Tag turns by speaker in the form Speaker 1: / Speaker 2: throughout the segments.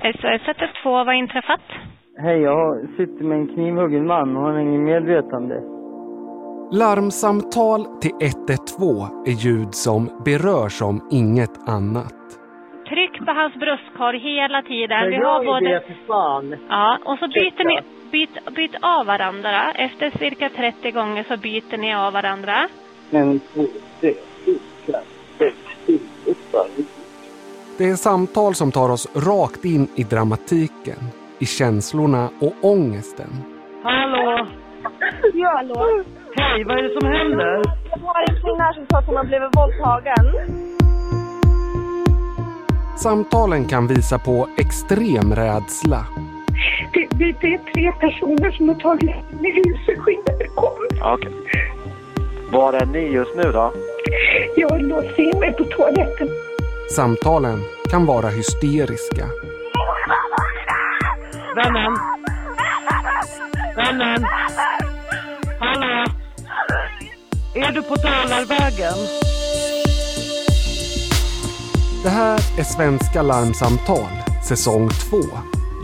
Speaker 1: SOS 112, vad har inträffat?
Speaker 2: Hej, jag har- sitter med en knivhuggen man och han är ingen medvetande.
Speaker 3: Larmsamtal till 112 är ljud som berör som inget annat.
Speaker 1: Tryck på hans bröstkorg hela tiden. Vi har både...
Speaker 2: för fan.
Speaker 1: Ja, och så byter ni...
Speaker 2: Ursäkta.
Speaker 1: Byt, byt av varandra. Efter cirka 30 gånger så byter ni av varandra.
Speaker 2: En, två, tre, fyra, sex, sju, åtta, nio.
Speaker 3: Det är samtal som tar oss rakt in i dramatiken, i känslorna och ångesten.
Speaker 2: Hallå!
Speaker 4: Ja, hallå.
Speaker 2: Hej, vad är det som händer?
Speaker 4: Jag har en kvinna här som sa att hon har blivit våldtagen.
Speaker 3: Samtalen kan visa på extrem rädsla.
Speaker 5: Det, det, det är tre personer som har tagit in i huset. Skynda er, kom!
Speaker 6: Okej. Var är ni just nu då?
Speaker 5: Jag låser in mig på toaletten.
Speaker 3: Samtalen kan vara hysteriska.
Speaker 2: Vännen! Vännen! Hallå! Är du på Dalarvägen?
Speaker 3: Det här är Svenska larmsamtal, säsong 2.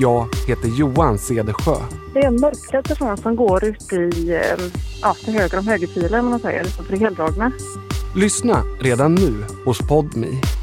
Speaker 3: Jag heter Johan Cedersjö.
Speaker 7: Det är mörkret ifrån som går ut i, eh, ja, till höger om högerfilen om man säger, så till heldragna.
Speaker 3: Lyssna redan nu hos Podmi.